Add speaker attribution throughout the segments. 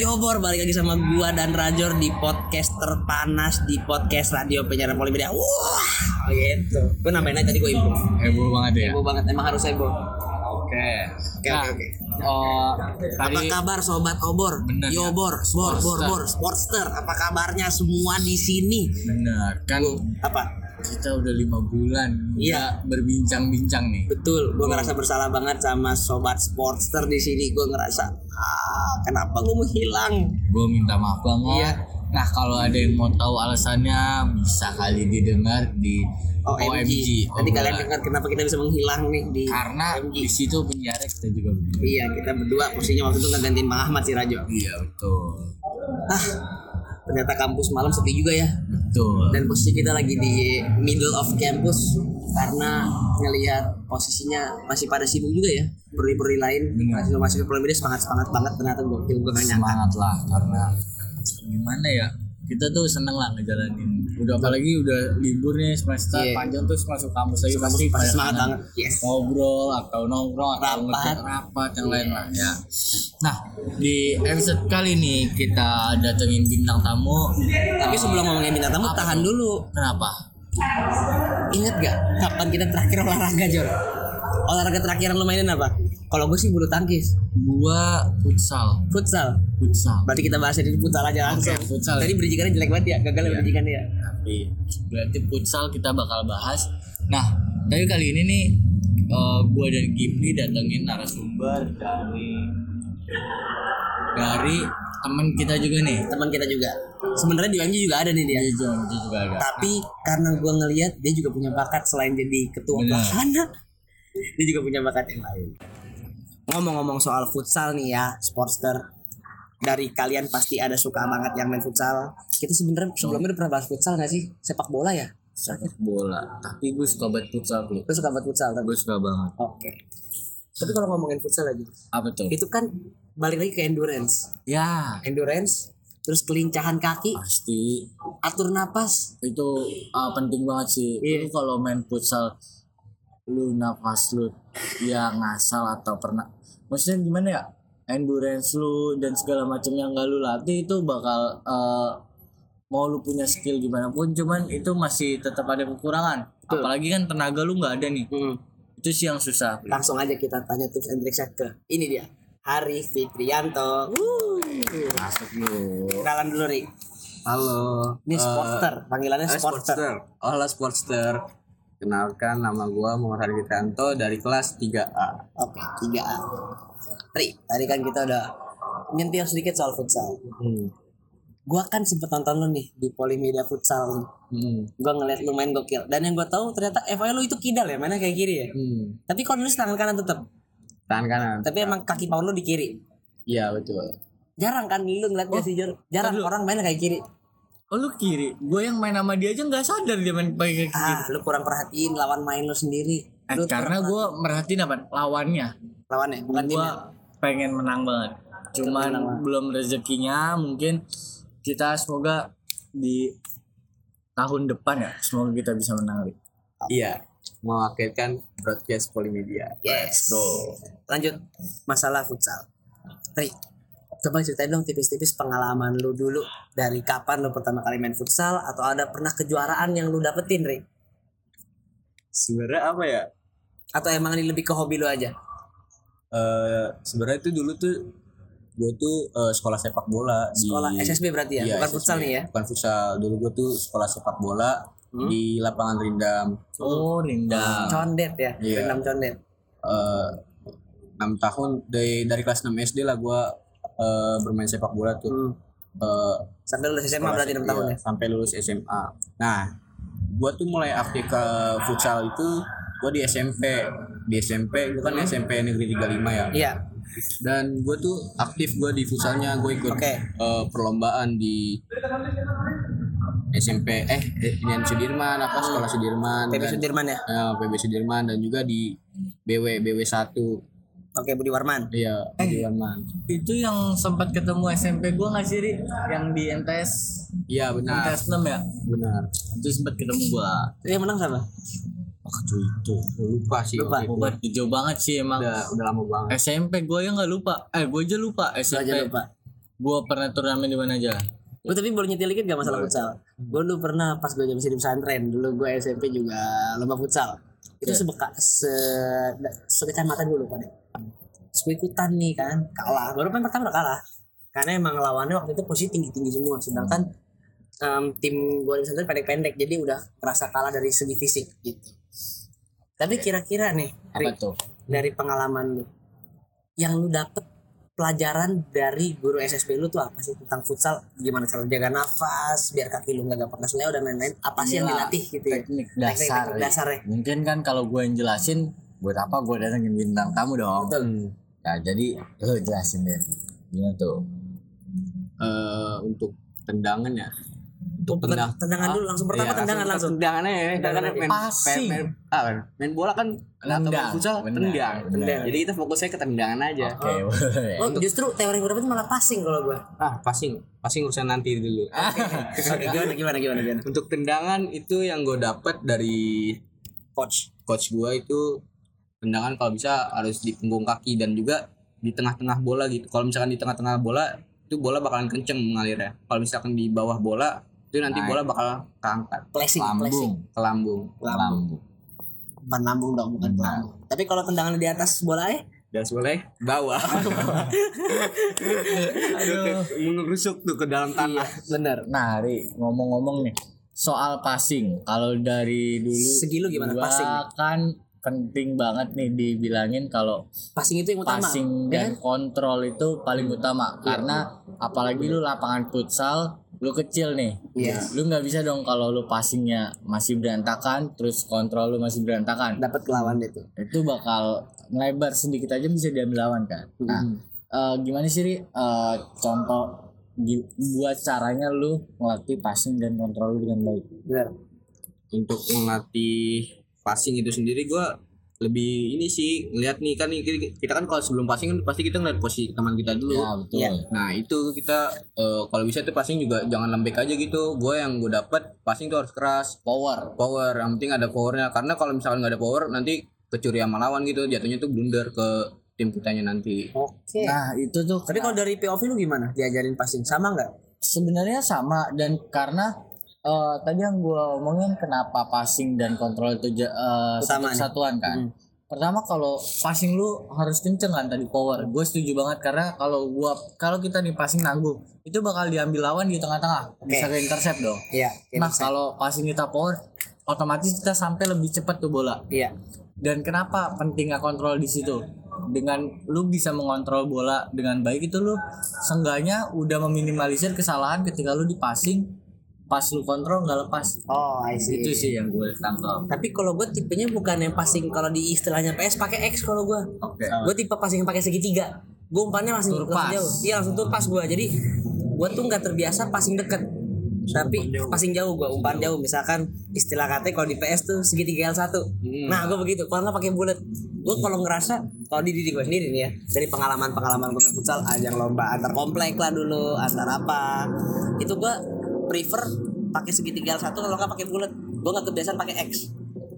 Speaker 1: Yobor balik lagi sama gua dan Rajor di podcast terpanas di podcast radio penyiaran Polimedia. Wah, gitu. Gua nambahin aja tadi gua ibu.
Speaker 2: heboh banget ya
Speaker 1: Ibu banget emang harus heboh.
Speaker 2: oke
Speaker 1: Oke,
Speaker 2: Nah,
Speaker 1: oke, oke.
Speaker 2: eh,
Speaker 1: Apa
Speaker 2: tadi
Speaker 1: kabar sobat obor?
Speaker 2: Bener, ya.
Speaker 1: Yobor, bor, bor, bor, sportster. Apa kabarnya semua di sini?
Speaker 2: benar kan
Speaker 1: Apa?
Speaker 2: kita udah lima bulan
Speaker 1: Iya.
Speaker 2: nggak berbincang-bincang nih
Speaker 1: Betul, gua ngerasa bersalah banget sama sobat sportster di sini. Gua ngerasa ah, kenapa gua menghilang?
Speaker 2: gue minta maaf
Speaker 1: Iya.
Speaker 2: banget nah kalau ada yang mau tahu alasannya bisa kali didengar di Oh,
Speaker 1: OMG. Oh, Nanti
Speaker 2: obrolan.
Speaker 1: kalian dengar kenapa kita bisa menghilang nih di
Speaker 2: karena di situ penjara kita juga berbincang.
Speaker 1: Iya, kita berdua posisinya waktu itu ngegantiin Bang Ahmad si Rajo.
Speaker 2: iya betul
Speaker 1: Ah, ternyata kampus malam sepi juga ya.
Speaker 2: betul
Speaker 1: Dan posisi kita lagi di middle of campus karena ngelihat posisinya masih pada sibuk juga ya. Peruri-peruri lain,
Speaker 2: Benar.
Speaker 1: mahasiswa-mahasiswa peruri media semangat-semangat banget ternyata gokil gue gak nyangka.
Speaker 2: semangat lah karena kan? gimana ya kita tuh seneng lah ngejalanin udah apalagi udah libur nih semester
Speaker 1: Iya.
Speaker 2: panjang terus masuk kampus lagi
Speaker 1: Kampus
Speaker 2: pasti
Speaker 1: pasti
Speaker 2: pada
Speaker 1: semangat
Speaker 2: kangen
Speaker 1: banget. Yes.
Speaker 2: ngobrol atau nongkrong atau
Speaker 1: Rapat.
Speaker 2: ngerjain rapat yang lain lah ya nah di episode kali ini kita datengin bintang tamu
Speaker 1: Tapi sebelum ngomongin bintang tamu, tahan dulu.
Speaker 2: kenapa
Speaker 1: Ingat gak kapan kita terakhir olahraga, Jor? Olahraga terakhir yang lo mainin apa? Kalau gue sih bulu tangkis,
Speaker 2: gua futsal
Speaker 1: futsal.
Speaker 2: futsal
Speaker 1: Berarti kita bahas di futsal aja langsung.
Speaker 2: Oke, futsal.
Speaker 1: Tadi berijikannya jelek banget ya, gagal
Speaker 2: Iya.
Speaker 1: berijikannya ya.
Speaker 2: tapi berarti futsal kita bakal bahas nah tapi kali ini nih eh, gua dan Gimli datengin narasumber dari dari temen kita juga nih
Speaker 1: teman kita juga. Sebenarnya di UMG juga ada nih dia.
Speaker 2: dia juga, dia juga ada
Speaker 1: Tapi karena gua ngelihat dia juga punya bakat selain jadi ketua
Speaker 2: Bener.
Speaker 1: pelaksana, dia juga punya bakat yang lain. Ngomong-ngomong soal futsal nih ya, sportster. Dari kalian pasti ada suka banget yang main futsal. Kita sebenarnya sebelumnya udah pernah bahas futsal gak sih? Sepak bola ya?
Speaker 2: sepak bola tapi gue suka banget futsal lu
Speaker 1: Lu suka banget futsal tapi.
Speaker 2: gue suka banget
Speaker 1: Oke. Tapi kalau ngomongin futsal lagi,
Speaker 2: apa tuh
Speaker 1: itu kan balik lagi ke endurance.
Speaker 2: ya
Speaker 1: Endurance, terus kelincahan kaki,
Speaker 2: pasti
Speaker 1: atur napas.
Speaker 2: itu uh, penting banget sih
Speaker 1: Iya.
Speaker 2: lu kalau main futsal lu nafas lu ya ngasal atau pernah maksudnya gimana ya endurance lu dan segala macam yang gak lu latih itu bakal uh, mau lu punya skill gimana pun cuman itu masih tetap ada kekurangan
Speaker 1: Betul.
Speaker 2: apalagi kan tenaga lu nggak ada nih
Speaker 1: Hmm.
Speaker 2: itu sih yang susah
Speaker 1: langsung aja kita tanya tips and tricksnya ke ini dia Hari Fitrianto Wuh.
Speaker 2: masuk lu
Speaker 1: kenalan dulu Ri
Speaker 3: Halo.
Speaker 1: ini
Speaker 3: Eh,
Speaker 1: sporter panggilannya
Speaker 3: eh,
Speaker 1: sporter
Speaker 3: sportster. Oh, lah sportster. Kenalkan nama gua Muhammad Hargitanto dari kelas 3A.
Speaker 1: oke 3A Ri tadi kan kita udah nyentil sedikit soal futsal
Speaker 3: Hmm.
Speaker 1: gua kan sempet nonton lu nih di Polimedia Futsal lu.
Speaker 3: Hmm.
Speaker 1: gua ngeliat lu main gokil dan yang gua tahu ternyata FY lu itu kidal ya mana kayak kiri ya
Speaker 3: hmm.
Speaker 1: tapi kalau nulis tangan kanan tetap
Speaker 3: Tangan kanan.
Speaker 1: tapi emang kaki power lu di kiri
Speaker 3: Iya, betul.
Speaker 1: jarang kan lu ngeliat gak sih Jor? jarang orang main kayak kiri
Speaker 2: oh lu kiri gue yang main sama dia aja nggak sadar dia main pakai kaki kiri
Speaker 1: ah lu kurang perhatiin lawan main lu sendiri
Speaker 2: Eh,
Speaker 1: Lu
Speaker 2: karena gue merhatiin apa lawannya
Speaker 1: lawannya bukan timnya
Speaker 2: gua
Speaker 3: ya?
Speaker 2: pengen menang banget cuman belum rezekinya mungkin kita semoga di tahun depan ya semoga kita bisa menang Ri.
Speaker 3: Iya. Mewakilkan broadcast polimedia.
Speaker 1: yes lanjut masalah futsal Ri coba ceritain dong tipis-tipis pengalaman lu dulu dari kapan lu pertama kali main futsal atau ada pernah kejuaraan yang lu dapetin Ri
Speaker 3: Sebenarnya apa ya?
Speaker 1: atau emang ini lebih ke hobi lu aja
Speaker 3: Eh, sebenarnya itu dulu tuh gue tuh eh, sekolah sepak bola di
Speaker 1: sekolah SSB berarti ya
Speaker 3: Iya,
Speaker 1: bukan
Speaker 3: SSB.
Speaker 1: futsal nih ya
Speaker 3: Bukan futsal. Dulu gue tuh sekolah sepak bola
Speaker 1: Hmm.
Speaker 3: di lapangan rindam.
Speaker 2: oh Rinda
Speaker 1: condet ya
Speaker 3: Iya.
Speaker 1: rendam condet
Speaker 3: eh 6 tahun dari dari kelas 6 SD lah gua eh, bermain sepak bola tuh.
Speaker 1: hmm.
Speaker 3: Eh,
Speaker 1: sampai lulus SMA berarti 6
Speaker 3: iya,
Speaker 1: tahun ya
Speaker 3: Sampai lulus SMA. Nah, gua tuh mulai aktif ke futsal itu gua di SMP. Di SMP gua kan SMP Negeri 35 ya.
Speaker 1: iya
Speaker 3: Dan gua tuh aktif gua di futsalnya, gua ikut
Speaker 1: Oke.
Speaker 3: eh, perlombaan di SMP eh Unian Sudirman apa sekolah Sudirman
Speaker 1: PB
Speaker 3: dan-
Speaker 1: Sudirman ya
Speaker 3: eh, PB Sudirman dan juga di BW BW 1
Speaker 1: oke Budi Warman
Speaker 3: Iya,
Speaker 1: Eh.
Speaker 3: Budi Warman.
Speaker 2: itu yang sempat ketemu SMP gue nggak sih Ri? yang di MTS
Speaker 3: Iya benar,
Speaker 2: MTS 6 ya
Speaker 3: benar.
Speaker 2: itu sempat ketemu gue
Speaker 1: dia menang sama
Speaker 3: Waktu itu lupa sih.
Speaker 1: Lupa.
Speaker 3: waktu itu.
Speaker 2: obat jauh banget sih emang
Speaker 3: Udah udah lama banget.
Speaker 2: SMP gue ya nggak lupa eh gue aja lupa
Speaker 1: Lu
Speaker 2: SMP
Speaker 1: aja lupa
Speaker 2: Gua pernah turnamen di mana aja?
Speaker 1: Lu Oh, tapi boleh nyetir dikit gak masalah futsal?
Speaker 2: Hmm.
Speaker 1: Gue dulu pernah pas gue masih di pesantren, dulu gue SMP juga lomba futsal. Itu
Speaker 2: Iya.
Speaker 1: sebeka se sekecamatan gue lupa deh. Terus gue ikutan nih kan, kalah. Baru main pertama udah kalah. Karena emang lawannya waktu itu posisi tinggi-tinggi semua, sedangkan em, tim gue di pesantren pendek-pendek, jadi udah kerasa kalah dari segi fisik gitu. Tapi kira-kira nih,
Speaker 2: Apa
Speaker 1: Ri,
Speaker 2: tuh?
Speaker 1: dari pengalaman lu, yang lu dapet pelajaran dari guru SSB lu tuh apa sih tentang futsal gimana cara jaga nafas biar kaki lu nggak gampang kesleo dan lain-lain apa sih yang
Speaker 2: Inilah
Speaker 1: dilatih gitu ya
Speaker 2: Teknik
Speaker 1: Teknik-teknik
Speaker 2: dasar.
Speaker 1: dasarnya
Speaker 2: Mungkin kan kalau gue yang jelasin, buat apa gue datengin bintang tamu dong?
Speaker 1: Betul.
Speaker 2: Ya jadi lo jelasin deh. Gimana tuh?
Speaker 3: Eh, untuk tendangan ya untuk
Speaker 1: Bukan
Speaker 3: tendang
Speaker 1: Oh, tendangan dulu langsung pertama
Speaker 3: Iya,
Speaker 1: tendangan langsung
Speaker 3: tendangannya ya tendangan main,
Speaker 2: Passing.
Speaker 3: main, main- ah, main- main bola kan atau main
Speaker 2: Tendang.
Speaker 3: futsal
Speaker 2: Benar,
Speaker 3: tendang.
Speaker 2: benar.
Speaker 3: Tendang. jadi kita fokusnya ke tendangan aja
Speaker 2: Oke, boleh.
Speaker 1: oh justru teori yang gue dapet malah passing kalau gue
Speaker 3: ah passing passing urusan nanti dulu
Speaker 1: oke gimana gimana gimana gimana
Speaker 3: untuk tendangan itu yang gue dapet dari
Speaker 1: coach
Speaker 3: coach gue itu tendangan kalau bisa harus di punggung kaki dan juga di tengah-tengah bola gitu. Kalau misalkan di tengah-tengah bola itu bola bakalan kenceng mengalirnya. Kalau misalkan di bawah bola itu nanti
Speaker 2: Naik.
Speaker 3: bola bakal keangkat
Speaker 1: flashing flashing
Speaker 2: Lambung,
Speaker 3: ke lambung
Speaker 2: lambung.
Speaker 1: bukan lambung dong bukan
Speaker 2: Hmm.
Speaker 1: lambung tapi kalau tendangan di atas bola ya
Speaker 3: dan boleh bawah
Speaker 2: Aduh.
Speaker 3: mengerusuk tuh ke dalam tanah.
Speaker 1: bener
Speaker 2: Nah, Ri, ngomong-ngomong nih soal passing. Kalau dari dulu
Speaker 1: Segi lu gimana
Speaker 2: gua
Speaker 1: passing?
Speaker 2: kan penting banget nih dibilangin kalau
Speaker 1: passing itu yang utama ya
Speaker 2: passing
Speaker 1: kan? Hmm. Iya.
Speaker 2: dan kontrol itu paling utama karena apalagi lu lapangan futsal lu kecil nih.
Speaker 1: Iya.
Speaker 2: Lu nggak bisa dong kalau lu passingnya masih berantakan terus kontrol lu masih berantakan.
Speaker 1: dapat kan? lawan itu
Speaker 2: itu bakal melebar sedikit aja bisa diambil lawan kan.
Speaker 1: Hmm.
Speaker 2: Nah, eh, gimana sih Ri eh, contoh gi- buat caranya lu ngelatih passing dan kontrol lu dengan baik?
Speaker 1: bener
Speaker 3: Untuk melatih passing itu sendiri gua lebih ini sih ngeliat nih kan ini- kita kan kalau sebelum passing kan pasti kita ngeliat posisi teman kita dulu.
Speaker 2: Ya betul.
Speaker 1: Iya.
Speaker 3: Nah itu kita eh, kalau bisa tuh passing juga jangan lembek aja gitu. Gue yang gue dapet passing tuh harus keras,
Speaker 2: Power.
Speaker 3: power. Yang penting ada powernya. Karena kalau misalkan nggak ada power nanti kecuri sama lawan gitu. Jatuhnya tuh blunder ke tim kitanya nanti.
Speaker 1: oke
Speaker 2: Nah itu tuh
Speaker 1: tapi kalau dari POV lu gimana diajarin passing sama nggak
Speaker 2: sebenarnya sama dan karena eh, tadi yang gue omongin kenapa passing dan kontrol itu ja- eh, satu
Speaker 1: Utama nih.
Speaker 2: kesatuan kan. Pertama kalau passing lu harus kenceng kan tadi power. Gue setuju banget karena kalau gua kalau kita nih passing nanggung itu bakal diambil lawan di tengah-tengah bisa ke intercept dong.
Speaker 1: iya
Speaker 2: Nah kalau passing kita power otomatis kita sampai lebih cepat tuh bola.
Speaker 1: iya
Speaker 2: Dan kenapa pentingnya kontrol di situ? Dengan lu bisa mengontrol bola dengan baik itu lu seenggaknya udah meminimalisir kesalahan ketika lu di passing pas lu kontrol nggak lepas.
Speaker 1: oh I see
Speaker 2: Itu sih yang gue tangkap.
Speaker 1: Tapi kalau gue tipenya bukan yang passing kalau di istilahnya PS pakai X kalau gue.
Speaker 2: Oke.
Speaker 1: Gue tipe passing yang pakai segitiga. Gue umpannya langsung,
Speaker 2: Tur
Speaker 1: langsung
Speaker 2: pass.
Speaker 1: jauh. Iya langsung tur pas gue. Jadi gue tuh nggak terbiasa passing deket. Tapi passing jauh gue umpan jauh misalkan istilah katanya kalau di PS tuh segitiga L1. Nah, gue begitu. Kalau nggak pakai bulat. Gue kalau ngerasa kalau di diri gue sendiri nih ya, dari pengalaman-pengalaman gue main futsal ada yang lomba antar komplek lah dulu, antar apa. Itu gue prefer pakai segitiga L1 kalau nggak pakai bulat. Gue nggak kebiasaan pakai X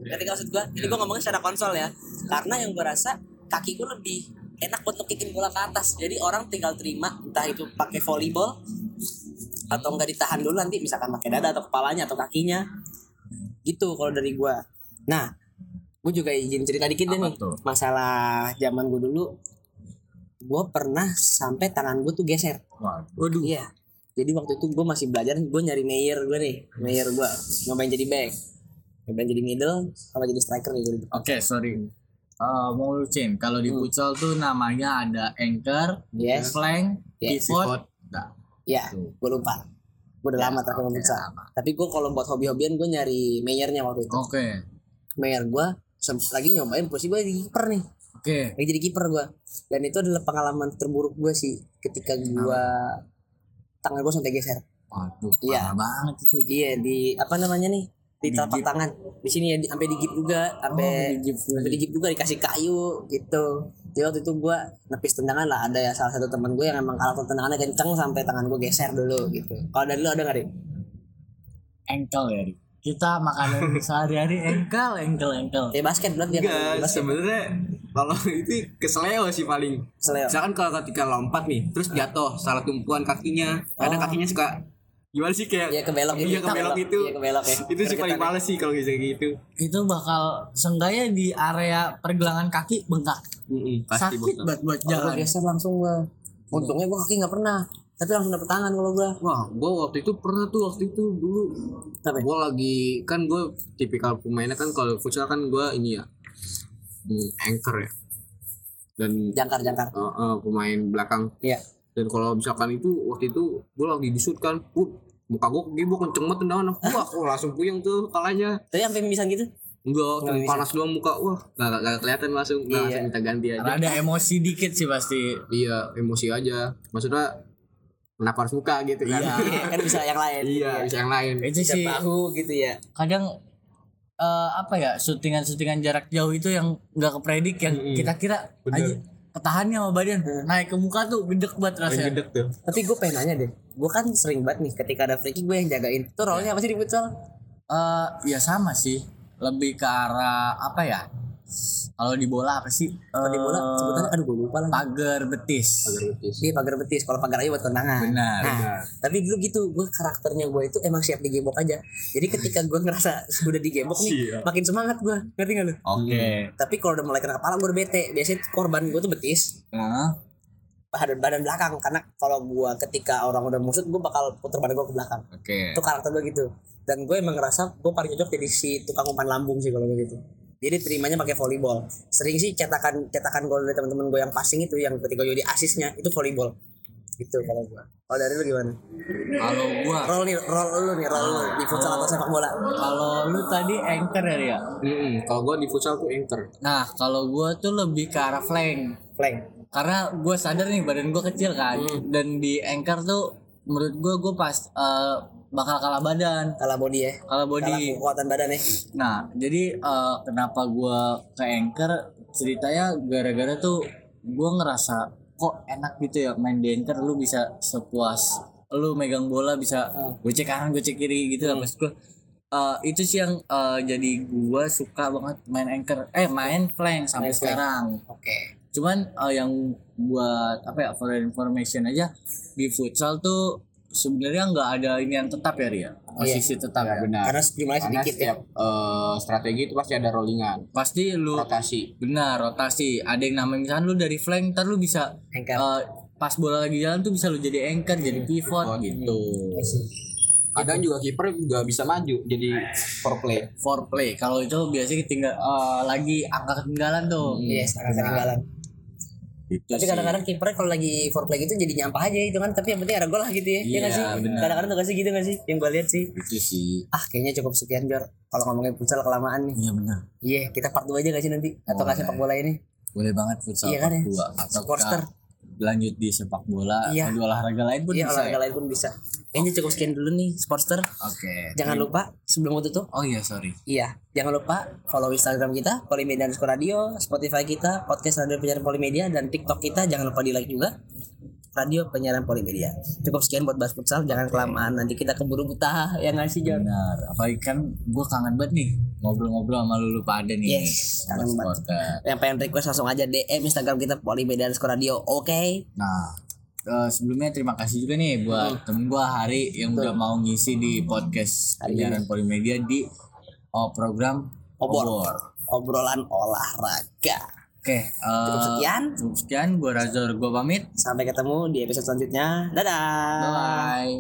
Speaker 1: ketika maksud gue ini gue ngomongnya secara konsol ya karena yang gue rasa kakiku lebih enak buat ngekikin bola ke atas jadi orang tinggal terima entah itu pakai volleyball atau enggak ditahan dulu nanti misalkan pakai dada atau kepalanya atau kakinya gitu kalau dari gue nah gue juga izin cerita dikit deh
Speaker 2: Apa
Speaker 1: nih
Speaker 2: tuh?
Speaker 1: masalah zaman gue dulu gue pernah sampai tangan gue tuh geser
Speaker 2: Waduh.
Speaker 1: Iya. Jadi waktu itu gue masih belajar, gue nyari mayor gue nih, mayor gue nyobain jadi back, nyobain jadi middle, sama jadi striker nih gue.
Speaker 2: Oke, sorry. Eh, mau lucuin kalau di futsal tuh namanya ada anchor,
Speaker 1: Hmm. Yes.
Speaker 2: plank,
Speaker 1: Yes.
Speaker 2: pivot. Nah,
Speaker 1: Ya, gue lupa. Gue udah lama terakhir memeriksa. Tapi gue kalau buat hobi-hobian gue nyari mayornya waktu itu.
Speaker 2: Oke.
Speaker 1: Mayor gue sem- lagi nyobain posisi gue di kiper nih,
Speaker 2: Oke.
Speaker 1: lagi jadi kiper gue. Dan itu adalah pengalaman terburuk gue sih ketika gue tangan gue sampai geser.
Speaker 2: Waduh,
Speaker 1: Iya.
Speaker 2: parah banget itu.
Speaker 1: Iya di apa namanya nih di telapak tangan di sini ya di- sampai digip juga sampai
Speaker 2: Oh, digip juga.
Speaker 1: sampai digip juga dikasih kayu gitu jadi waktu itu gue nepis tendangan lah ada ya salah satu teman gue yang emang kalau tendangannya kenceng sampai tangan gue geser dulu gitu kalau dari lu ada nggak Rik?
Speaker 2: Engkel ya, Ri. Kita makanan sehari-hari engkel, engkel, engkel.
Speaker 1: ya
Speaker 2: Iya,
Speaker 1: basket berarti dia kan?
Speaker 3: Enggak,
Speaker 1: basket
Speaker 3: sebenarnya kalau itu keseleo sih paling
Speaker 1: Seleo.
Speaker 3: misalkan kalau ketika lompat nih terus jatuh salah tumpuan kakinya
Speaker 1: Iya.
Speaker 3: kadang
Speaker 1: Oh.
Speaker 3: kakinya suka gimana sih kayak
Speaker 1: Iya, kebelok gitu.
Speaker 3: iya kebelok itu
Speaker 1: Iya, kebelok ya.
Speaker 3: itu sih paling
Speaker 1: Gergetan ya.
Speaker 3: males sih kalau kayak gitu
Speaker 2: itu bakal senggaya di area pergelangan kaki bengkak
Speaker 3: Mm-mm, pasti
Speaker 2: sakit
Speaker 3: bengkak.
Speaker 2: banget buat
Speaker 1: Kalau gua
Speaker 2: jalan
Speaker 1: geser langsung gua. Untungnya gua kaki nggak pernah. Tapi langsung dapet tangan kalau gua.
Speaker 3: wah gue waktu itu pernah tuh waktu itu dulu
Speaker 1: Tapi
Speaker 3: gue lagi kan gue tipikal pemainnya kan kalau futsal kan gue ini ya mm, anchor ya dan
Speaker 1: jangkar jangkar.
Speaker 3: eh, eh, pemain belakang
Speaker 1: Iya.
Speaker 3: dan kalau misalkan itu waktu itu gue lagi disut kan uh, muka gue gue kenceng banget tendangan wah aku langsung puyeng tuh kalanya
Speaker 1: Tapi sampai pingsan gitu.
Speaker 3: enggak
Speaker 1: Nggak
Speaker 3: cuma
Speaker 1: bisa.
Speaker 3: panas doang muka wah gak, gak, kelihatan langsung
Speaker 1: Iya.
Speaker 3: Nah, langsung kita ganti aja
Speaker 2: Karena ada emosi dikit sih pasti
Speaker 3: iya emosi aja maksudnya kenapa harus muka gitu kan
Speaker 2: Iya.
Speaker 1: Iya, kan bisa yang lain.
Speaker 3: iya bisa yang lain
Speaker 2: itu
Speaker 1: Bisa
Speaker 2: sih
Speaker 1: tahu gitu ya.
Speaker 2: kadang eh, apa ya syutingan-syutingan jarak jauh itu yang nggak kepredik yang
Speaker 3: Mm-mm.
Speaker 2: kita kira
Speaker 3: Bener.
Speaker 2: aja ketahannya sama badan naik ke muka tuh gedek banget rasanya
Speaker 3: gedek tuh
Speaker 1: Tapi gue pengen nanya deh. Gue kan sering banget nih ketika ada free kick gue yang jagain. Itu role-nya apa sih di futsal?
Speaker 2: Eh, ya sama sih lebih ke arah apa ya kalau di bola apa sih
Speaker 1: Kalau di bola
Speaker 2: Eh,
Speaker 1: sebutannya aduh gue lupa lagi.
Speaker 2: pagar betis
Speaker 3: agak letis
Speaker 1: Iya pagar betis, kalau pagar aja buat tendangan.
Speaker 2: Benar.
Speaker 1: Nah,
Speaker 3: Benar.
Speaker 1: tapi dulu gitu, gue karakternya gue itu emang siap digebok aja. Jadi ketika gue ngerasa udah digebok nih,
Speaker 3: Siap.
Speaker 1: makin semangat gue, ngerti gak lu?
Speaker 2: oke
Speaker 1: Tapi kalau udah mulai kena kepala gue udah bete. Biasanya korban gue tuh betis,
Speaker 2: Nah,
Speaker 1: badan badan belakang. Karena kalau gue ketika orang udah musut, gue bakal puter badan gue ke belakang.
Speaker 2: oke
Speaker 1: Itu karakter gue gitu. Dan gue emang ngerasa gue paling cocok jadi si tukang umpan lambung sih kalau gue gitu. Jadi terimanya pakai volleyball. Sering sih cetakan cetakan gol dari teman-teman gue yang passing itu, yang ketika gue jadi asisnya itu volleyball. Gitu kalau gue. Kalau dari lu gimana?
Speaker 2: kalau gua
Speaker 1: Roll nih, roll lu nih, roll lu di futsal atau sepak bola.
Speaker 2: kalau lu tadi anchor ya Ria?
Speaker 3: kalau gue di futsal tuh anchor
Speaker 2: nah kalau gua tuh lebih ke arah flank
Speaker 1: Flank.
Speaker 2: karena gue sadar nih badan gue kecil kan dan di anchor tuh menurut gue gue pas eh, bakal kalah badan
Speaker 1: Kalah body ya.
Speaker 2: kalah
Speaker 1: Kalah
Speaker 2: body
Speaker 1: kekuatan badan ya.
Speaker 2: nah jadi eh, kenapa gue ke anchor ceritanya gara-gara tuh gue ngerasa kok enak gitu ya main di anchor lu bisa sepuas lu megang bola bisa gocek kanan gocek kiri gitu lah maksud gue Eh, itu sih yang eh, jadi gue suka banget main anchor eh main flank sampai
Speaker 1: Main flank.
Speaker 2: sekarang
Speaker 1: Oke.
Speaker 2: cuman eh, yang buat apa ya for information aja di futsal tuh sebenarnya nggak ada ini yang tetap ya Ria posisi tetap ya,
Speaker 3: benar
Speaker 1: Karena jumlahnya
Speaker 3: karena
Speaker 1: sedikit ya.
Speaker 3: setiap eh, strategi itu pasti ada rollingan
Speaker 2: pasti lu
Speaker 3: rotasi
Speaker 2: benar rotasi ada yang namanya misalnya lu dari flank ntar lu bisa
Speaker 1: Anchor.
Speaker 2: eh, pas bola lagi jalan tuh bisa lu jadi anchor jadi
Speaker 1: Iya,
Speaker 2: pivot
Speaker 1: Oh,
Speaker 2: gitu
Speaker 3: kadang juga kiper juga bisa maju jadi foreplay
Speaker 2: foreplay kalau itu biasanya tinggal eh, lagi angka ketinggalan tuh
Speaker 1: Iya, setengah ketinggalan.
Speaker 2: Gitu
Speaker 1: Tapi
Speaker 2: sih.
Speaker 1: kadang-kadang kipernya kalau lagi foreplay gitu jadi nyampah aja itu kan, tapi yang penting ada gol lah gitu ya. Iya
Speaker 2: Iya,
Speaker 1: nggak sih?
Speaker 2: benar.
Speaker 1: Kadang-kadang tuh nggak sih gitu nggak sih? Yang gue lihat sih.
Speaker 2: gitu sih
Speaker 1: Ah, kayaknya cukup sekian Jor. Kalau ngomongin futsal kelamaan nih.
Speaker 2: iya benar
Speaker 1: Iya, kita part 2 aja nggak sih nanti atau nggak sepak bola ini?
Speaker 2: boleh banget futsal
Speaker 1: Iya kan ya?
Speaker 2: part dua. atau
Speaker 1: Sportster.
Speaker 2: kita lanjut di sepak bola
Speaker 1: Iya.
Speaker 2: atau di olahraga lain pun
Speaker 1: Iya,
Speaker 2: bisa ya?
Speaker 1: olahraga lain pun bisa. Kayaknya cukup sekian dulu nih, Sportster. Iya.
Speaker 2: oke
Speaker 1: Jangan lupa sebelum gue tutup,
Speaker 2: oh iya sorry
Speaker 1: Iya, jangan lupa follow Instagram kita, Polimedia underscore radio, Spotify kita, podcast radio penyiaran Polimedia, dan TikTok kita, jangan lupa di like juga. Radio penyiaran Polimedia. Cukup sekian buat bahas futsal, jangan kelamaan, nanti kita keburu buta ya nggak sih John?
Speaker 2: benar apalagi kan gue kangen banget nih ngobrol-ngobrol sama lu lupa ada nih
Speaker 1: Yes,
Speaker 2: Sobat
Speaker 1: kangen banget.
Speaker 2: supporter.
Speaker 1: Yang pengen request langsung aja DM Instagram kita Polimedia underscore radio, oke?
Speaker 2: nah eh, sebelumnya terima kasih juga nih buat
Speaker 1: Hmm.
Speaker 2: temen gue Hari yang udah mau ngisi di podcast
Speaker 1: Hari
Speaker 2: penyiaran Polimedia di oh, program
Speaker 1: Obor.
Speaker 2: Obor.
Speaker 1: Obrolan olahraga.
Speaker 2: Oke, eh,
Speaker 1: Cukup sekian,
Speaker 2: cukup sekian. Gue Razor, gue pamit.
Speaker 1: sampai ketemu di episode selanjutnya. Dadah.
Speaker 2: Bye.